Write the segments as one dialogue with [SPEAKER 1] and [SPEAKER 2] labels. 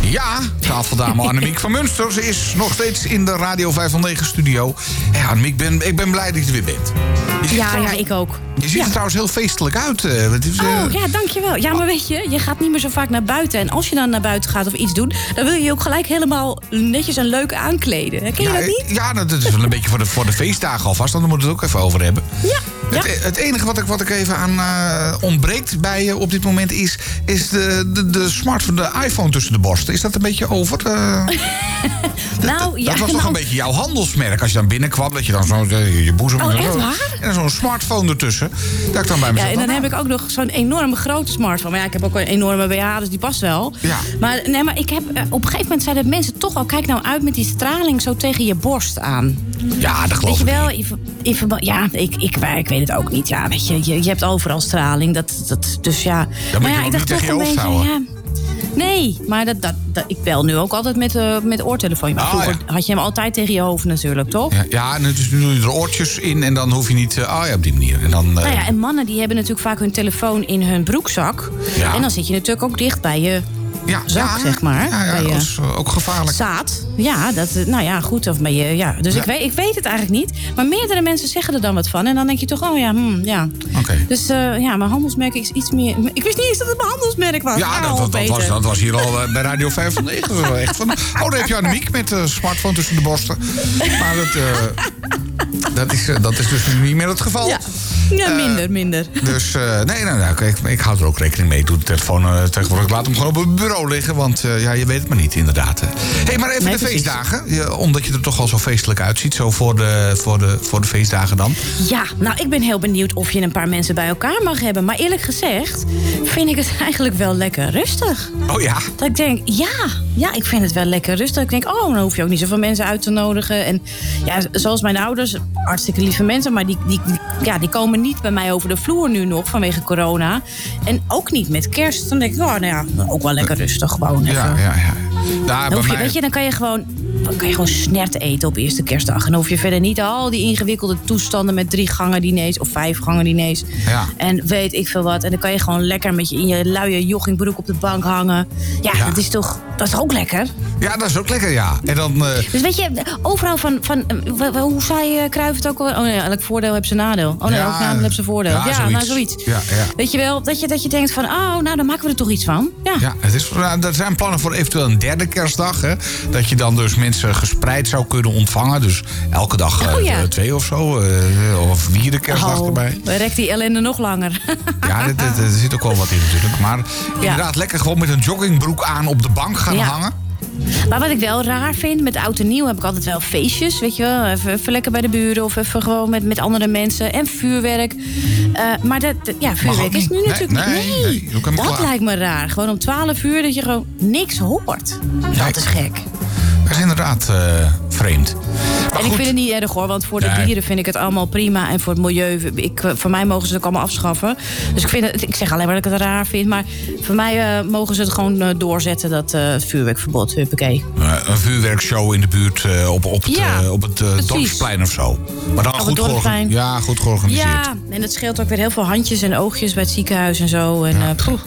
[SPEAKER 1] Ja, tafeldame Annemiek van Munster. Ze is nog steeds in de Radio 509-studio. Ja, Annemiek, ik ben, ik ben blij dat je er weer bent. Je ziet,
[SPEAKER 2] Ja, ja,
[SPEAKER 1] trouwens,
[SPEAKER 2] ik ook.
[SPEAKER 1] je ziet er trouwens heel feestelijk uit. eh, het is, eh,
[SPEAKER 2] Oh, ja, dankjewel. Ja, maar weet je, je gaat niet meer zo vaak naar buiten. En als je dan naar buiten gaat of iets doet... dan wil je je ook gelijk helemaal netjes en leuk aankleden. Hè, Ken je
[SPEAKER 1] ja,
[SPEAKER 2] dat niet?
[SPEAKER 1] eh, Ja, dat dat is wel een beetje voor de, voor de feestdagen alvast. Dan moeten we het ook even over hebben.
[SPEAKER 2] Ja. ja.
[SPEAKER 1] Het, het enige wat ik, wat ik even aan eh, ontbreekt bij je op dit moment is, is de, de, de smartphone, de iPhone tussen de borsten. Is dat een beetje over? Eh,
[SPEAKER 2] nou, ja,
[SPEAKER 1] dat was toch
[SPEAKER 2] nou,
[SPEAKER 1] een beetje jouw handelsmerk als je dan binnenkwam, dat je dan zo eh, je boezem
[SPEAKER 2] Oh, echt waar?
[SPEAKER 1] en dan zo'n smartphone ertussen. Dat ik dan bij mezelf.
[SPEAKER 2] Ja, en dan
[SPEAKER 1] dacht,
[SPEAKER 2] heb ik ook nog zo'n enorme grote smartphone. Maar ja, ik heb ook een enorme BH, dus die past wel.
[SPEAKER 1] Ja.
[SPEAKER 2] Maar, nee, maar ik heb, eh, op een gegeven moment zeiden mensen toch al... kijk nou uit met die straling zo tegen je borst aan.
[SPEAKER 1] nou, ja, dat
[SPEAKER 2] Weet
[SPEAKER 1] geloof
[SPEAKER 2] je
[SPEAKER 1] ik.
[SPEAKER 2] wel, in ver- in verband- ja, ik, ik, maar ik weet het ook niet. Ja, weet je, je, je hebt overal straling. Dat, dat, dus ja.
[SPEAKER 1] Dan moet je
[SPEAKER 2] ja,
[SPEAKER 1] ook niet tegen je hoofd houden.
[SPEAKER 2] ja. Nee, maar dat, dat, dat- ik bel nu ook altijd met, eh met oortelefoon. Maar
[SPEAKER 1] Oh,
[SPEAKER 2] vroeger
[SPEAKER 1] ja.
[SPEAKER 2] had je hem altijd tegen je hoofd natuurlijk, toch?
[SPEAKER 1] Ja, ja, en dus nu doe je er oortjes in en dan hoef je niet. eh, oh ja, op die manier. En dan, eh,
[SPEAKER 2] Nou ja, en mannen die hebben natuurlijk vaak hun telefoon in hun broekzak.
[SPEAKER 1] Ja.
[SPEAKER 2] En dan zit je natuurlijk ook dicht bij je
[SPEAKER 1] ja,
[SPEAKER 2] zak, zeg maar,
[SPEAKER 1] Ja, ja,
[SPEAKER 2] bij je-
[SPEAKER 1] dat is eh, ook gevaarlijk.
[SPEAKER 2] zaad. Ja, dat, eh, nou ja, goed. Of bij je, ja. Dus
[SPEAKER 1] Ja.
[SPEAKER 2] Ik, weet, ik weet het eigenlijk niet. Maar meerdere mensen zeggen er dan wat van. En dan denk je toch, oh ja, hmm, ja.
[SPEAKER 1] Oké.
[SPEAKER 2] Dus eh, ja, mijn handelsmerk is iets meer... Ik wist niet eens dat het mijn handelsmerk was.
[SPEAKER 1] Ja, dat,
[SPEAKER 2] Au,
[SPEAKER 1] dat, dat,
[SPEAKER 2] Peter.
[SPEAKER 1] was, dat was hier al eh, bij Radio 509. Dat was wel echt van, oh, daar heb je Annemiek met de smartphone tussen de borsten. Maar dat, eh, dat, is, eh, dat is dus nu niet meer het geval.
[SPEAKER 2] Ja, ja
[SPEAKER 1] Eh,
[SPEAKER 2] minder, minder.
[SPEAKER 1] Dus eh, nee, nou, nou, kijk, ik hou er ook rekening mee. Ik doe de telefoon eh, tegenwoordig. Ik laat hem gewoon op het bureau liggen. Want eh, ja, je weet het maar niet, inderdaad. Hé, hey, maar even
[SPEAKER 2] Nee,
[SPEAKER 1] de
[SPEAKER 2] precies.
[SPEAKER 1] feestdagen. Je- omdat je er toch al zo feestelijk uitziet. Zo voor de, voor de, voor de feestdagen dan.
[SPEAKER 2] Ja, nou, ik ben heel benieuwd of je een paar mensen bij elkaar mag hebben. Maar eerlijk gezegd vind ik het eigenlijk wel lekker rustig.
[SPEAKER 1] Oh ja.
[SPEAKER 2] Dat ik denk, ja, ja, ik vind het wel lekker rustig. Ik denk, oh, dan hoef je ook niet zoveel mensen uit te nodigen. En ja, zoals mijn ouders, hartstikke lieve mensen... maar die, die, die- ja, die komen niet bij mij over de vloer nu nog vanwege corona. En ook niet met kerst. Dan denk ik, oh, nou ja, ook wel lekker rustig gewoon even.
[SPEAKER 1] Ja, ja, ja. Daar
[SPEAKER 2] Dan
[SPEAKER 1] bij
[SPEAKER 2] hoef je,
[SPEAKER 1] mij.
[SPEAKER 2] weet je, dan kan je gewoon... Dan kan je gewoon snert eten op eerste kerstdag. En dan hoef je verder niet al die ingewikkelde toestanden met drie gangen diners of vijf gangen diners.
[SPEAKER 1] Ja.
[SPEAKER 2] En weet ik veel wat. En dan kan je gewoon lekker met je in je luie joggingbroek op de bank hangen. Ja,
[SPEAKER 1] Ja.
[SPEAKER 2] dat is toch. Dat is toch ook lekker.
[SPEAKER 1] Ja, dat is ook lekker, ja. En dan. eh,
[SPEAKER 2] Dus weet je, overal van. van eh, wa- wa- hoe zei eh, Cruijff het ook al? Oh nee, elk voordeel heeft zijn nadeel. Oh nee,
[SPEAKER 1] Ja,
[SPEAKER 2] elk nadeel heeft zijn voordeel.
[SPEAKER 1] ja,
[SPEAKER 2] Ja,
[SPEAKER 1] zoiets.
[SPEAKER 2] nou zoiets.
[SPEAKER 1] Ja, ja.
[SPEAKER 2] Weet je wel, dat je, dat je denkt van. Oh, nou dan maken we er toch iets van.
[SPEAKER 1] Ja, het is, nou, er zijn plannen voor eventueel een derde kerstdag. Hè? Dat je dan dus mensen gespreid zou kunnen ontvangen. Dus elke dag eh,
[SPEAKER 2] Oh, ja.
[SPEAKER 1] twee of zo. eh, of vierde kerstdag
[SPEAKER 2] Oh,
[SPEAKER 1] erbij.
[SPEAKER 2] rekt die ellende nog langer.
[SPEAKER 1] Ja, er, er- er zit ook wel wat in natuurlijk. Maar inderdaad, lekker gewoon met een joggingbroek aan op de bank gaan
[SPEAKER 2] Ja.
[SPEAKER 1] hangen.
[SPEAKER 2] Maar wat ik wel raar vind, met oud en nieuw heb ik altijd wel feestjes. Weet je wel, even, even lekker bij de buren of even gewoon met, met andere mensen. En vuurwerk. Eh, maar dat, dat- ja,
[SPEAKER 1] ook
[SPEAKER 2] vuurwerk is
[SPEAKER 1] niet.
[SPEAKER 2] nu
[SPEAKER 1] Nee,
[SPEAKER 2] natuurlijk
[SPEAKER 1] nee, nee, doe ik hem
[SPEAKER 2] dat
[SPEAKER 1] klaar.
[SPEAKER 2] lijkt me raar. Gewoon om 12 uur dat je gewoon niks hoort.
[SPEAKER 1] Kijk.
[SPEAKER 2] Dat is gek.
[SPEAKER 1] Dat is inderdaad eh, vreemd. Maar
[SPEAKER 2] en
[SPEAKER 1] goed,
[SPEAKER 2] ik vind het niet erg hoor, want voor de
[SPEAKER 1] Nee.
[SPEAKER 2] dieren vind ik het allemaal prima. En voor het milieu, ik, eh, voor mij mogen ze het ook allemaal afschaffen. Dus ik, vind het, ik zeg alleen maar dat ik het raar vind. Maar voor mij eh, mogen ze het gewoon eh, doorzetten, dat eh, het vuurwerkverbod. Huppakee.
[SPEAKER 1] eh, een vuurwerkshow in de buurt eh, op, op het,
[SPEAKER 2] Ja,
[SPEAKER 1] eh, op het eh,
[SPEAKER 2] precies.
[SPEAKER 1] dorpsplein of zo. Maar dan goed, georga-
[SPEAKER 2] dorpsplein.
[SPEAKER 1] ja, goed georganiseerd.
[SPEAKER 2] Ja, en dat scheelt ook weer heel veel handjes en oogjes bij het ziekenhuis en zo. En, eh, poeh.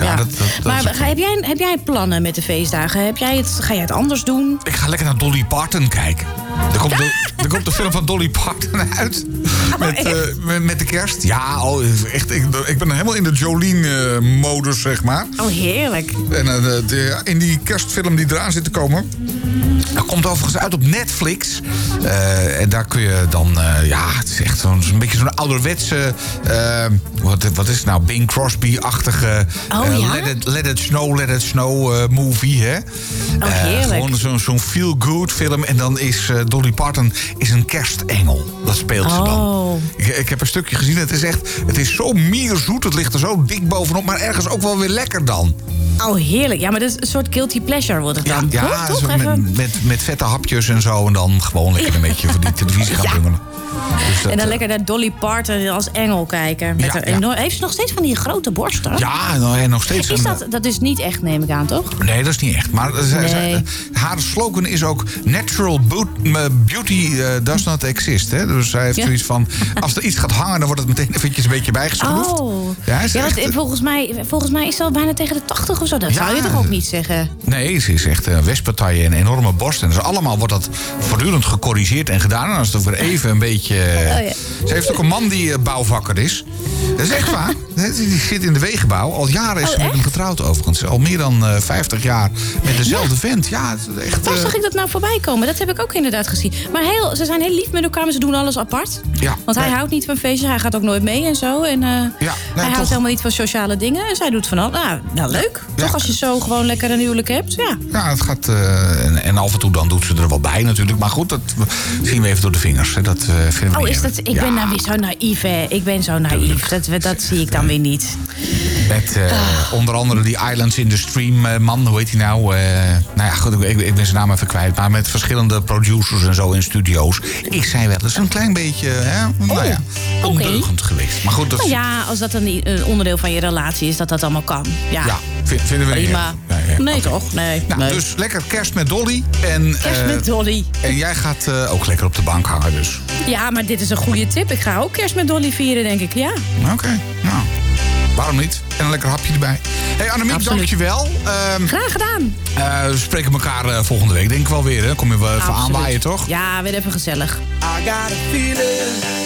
[SPEAKER 1] Ja, dat- dat- dat
[SPEAKER 2] maar
[SPEAKER 1] is ook
[SPEAKER 2] ga- heb, jij, heb jij plannen met de feestdagen? Heb jij het, ga jij het anders doen?
[SPEAKER 1] Ik ga lekker naar Dolly Parton kijken. Er komt, de, er komt de film van Dolly Parton uit.
[SPEAKER 2] Oh,
[SPEAKER 1] Met, eh, met, met de kerst. Ja, oh, echt, ik, ik ben helemaal in de Jolene-modus, zeg maar.
[SPEAKER 2] Oh, heerlijk.
[SPEAKER 1] En eh, de- de- in die kerstfilm die eraan zit te komen. Dat komt overigens uit op Netflix. Eh, en daar kun je dan... eh, ja, het is echt zo'n, een beetje zo'n ouderwetse... eh, wat, wat is het nou? Bing Crosby-achtige...
[SPEAKER 2] Oh,
[SPEAKER 1] eh,
[SPEAKER 2] ja?
[SPEAKER 1] let, it, let It Snow, Let It Snow eh, movie, hè?
[SPEAKER 2] Oh,
[SPEAKER 1] Eh,
[SPEAKER 2] heerlijk.
[SPEAKER 1] gewoon zo'n, zo'n feel-good film. En dan is eh, Dolly Parton is een kerstengel. Dat speelt ze dan.
[SPEAKER 2] Oh.
[SPEAKER 1] Ik, ik heb een stukje gezien. Het is echt... Het is zo mierzoet. Het ligt er zo dik bovenop. Maar ergens ook wel weer lekker dan.
[SPEAKER 2] Oh, heerlijk. Ja, maar dat is een soort guilty pleasure wordt het
[SPEAKER 1] Ja,
[SPEAKER 2] dan.
[SPEAKER 1] ja
[SPEAKER 2] toch?
[SPEAKER 1] zo
[SPEAKER 2] toch? Even.
[SPEAKER 1] met, met, met vette hapjes en zo. En dan gewoon lekker een beetje voor die televisie gaan bungelen. Dus dat,
[SPEAKER 2] En dan
[SPEAKER 1] eh,
[SPEAKER 2] lekker naar Dolly Parton als engel kijken. Met
[SPEAKER 1] Ja,
[SPEAKER 2] haar
[SPEAKER 1] ja.
[SPEAKER 2] enorm- Heeft ze nog steeds van die grote borsten?
[SPEAKER 1] eh, Ja, en dan- en nog steeds.
[SPEAKER 2] Is
[SPEAKER 1] een-
[SPEAKER 2] dat, dat is niet echt, neem ik aan, toch?
[SPEAKER 1] Nee, dat is niet echt. Maar eh, ze- ze-
[SPEAKER 2] Nee.
[SPEAKER 1] haar slogan is ook... Natural boot- eh, beauty eh, does not exist. Hè? Dus zij heeft
[SPEAKER 2] Ja.
[SPEAKER 1] zoiets van... Als er iets gaat hangen, dan wordt het meteen eventjes een beetje bijgeschroefd.
[SPEAKER 2] Oh.
[SPEAKER 1] Ja,
[SPEAKER 2] Ja,
[SPEAKER 1] is echt-
[SPEAKER 2] want, eh, volgens, mij, volgens mij is ze al bijna tegen de 80 of of zo. Dat
[SPEAKER 1] Ja.
[SPEAKER 2] zou je toch ook niet zeggen?
[SPEAKER 1] Nee, ze is echt een wespartij en een enorme borst. En dus allemaal wordt dat voortdurend gecorrigeerd en gedaan. En dan is het ook weer even een beetje... eh,
[SPEAKER 2] Oh, ja.
[SPEAKER 1] Ze heeft ook een man die eh, bouwvakker is. Dat is echt waar. Die zit in de wegenbouw. Al jaren
[SPEAKER 2] Oh,
[SPEAKER 1] is ze met hem getrouwd overigens. Al meer dan eh, 50 jaar met dezelfde vent. Ja, het is echt...
[SPEAKER 2] Waar
[SPEAKER 1] eh,
[SPEAKER 2] zag ik dat nou voorbij komen? Dat heb ik ook inderdaad gezien. Maar heel, ze zijn heel lief met elkaar, maar ze doen alles apart.
[SPEAKER 1] Ja.
[SPEAKER 2] Want hij
[SPEAKER 1] Nee.
[SPEAKER 2] houdt niet van feestjes, hij gaat ook nooit mee en zo. En, eh, hij
[SPEAKER 1] toch.
[SPEAKER 2] houdt helemaal niet van sociale dingen. En zij doet van al. Nou, nou, leuk.
[SPEAKER 1] Ja.
[SPEAKER 2] Toch als je zo gewoon lekker een huwelijk hebt. Ja.
[SPEAKER 1] Ja, het gaat. eh, en, en af en toe dan doet ze er wel bij natuurlijk. Maar goed, dat zien we even door de vingers. hè. Dat eh, vinden we
[SPEAKER 2] Oh,
[SPEAKER 1] niet
[SPEAKER 2] is
[SPEAKER 1] erg.
[SPEAKER 2] dat, ik
[SPEAKER 1] Ja,
[SPEAKER 2] ben nou weer zo naïef, hè. Ik ben zo naïef. Dat, we- dat zie ik dan weer niet.
[SPEAKER 1] Met eh,
[SPEAKER 2] Ah.
[SPEAKER 1] onder andere die Islands in the Stream eh, man, hoe heet hij nou? Eh, nou ja, goed, ik, ik- ik ben zijn naam even kwijt. Maar met verschillende producers en zo in studio's is zij wel eens een klein beetje hè, nou ja,
[SPEAKER 2] Oh, oké.
[SPEAKER 1] ondeugend geweest. Maar goed, dat
[SPEAKER 2] Nou ja, als dat dan niet een onderdeel van je relatie is, dat dat allemaal kan. Ja,
[SPEAKER 1] ja, vind- vinden we niet
[SPEAKER 2] prima.
[SPEAKER 1] erg.
[SPEAKER 2] Nee,
[SPEAKER 1] oké.
[SPEAKER 2] toch? Nee,
[SPEAKER 1] Nou,
[SPEAKER 2] nee.
[SPEAKER 1] Dus lekker kerst met Dolly. En,
[SPEAKER 2] Kerst
[SPEAKER 1] eh,
[SPEAKER 2] met Dolly.
[SPEAKER 1] en jij gaat eh, ook lekker op de bank hangen dus.
[SPEAKER 2] Ja, maar dit is een goede tip. Ik ga ook kerst met Dolly vieren, denk ik. Ja.
[SPEAKER 1] Oké, nou. Waarom niet? En een lekker hapje erbij. hey Annemiek,
[SPEAKER 2] Absoluut.
[SPEAKER 1] dankjewel. Ehm
[SPEAKER 2] Graag gedaan.
[SPEAKER 1] eh, we spreken elkaar eh, volgende week denk ik wel weer. Hè? Kom je wel even
[SPEAKER 2] Absoluut.
[SPEAKER 1] aanwaaien, toch?
[SPEAKER 2] Ja, weer even gezellig.
[SPEAKER 3] I got a feeling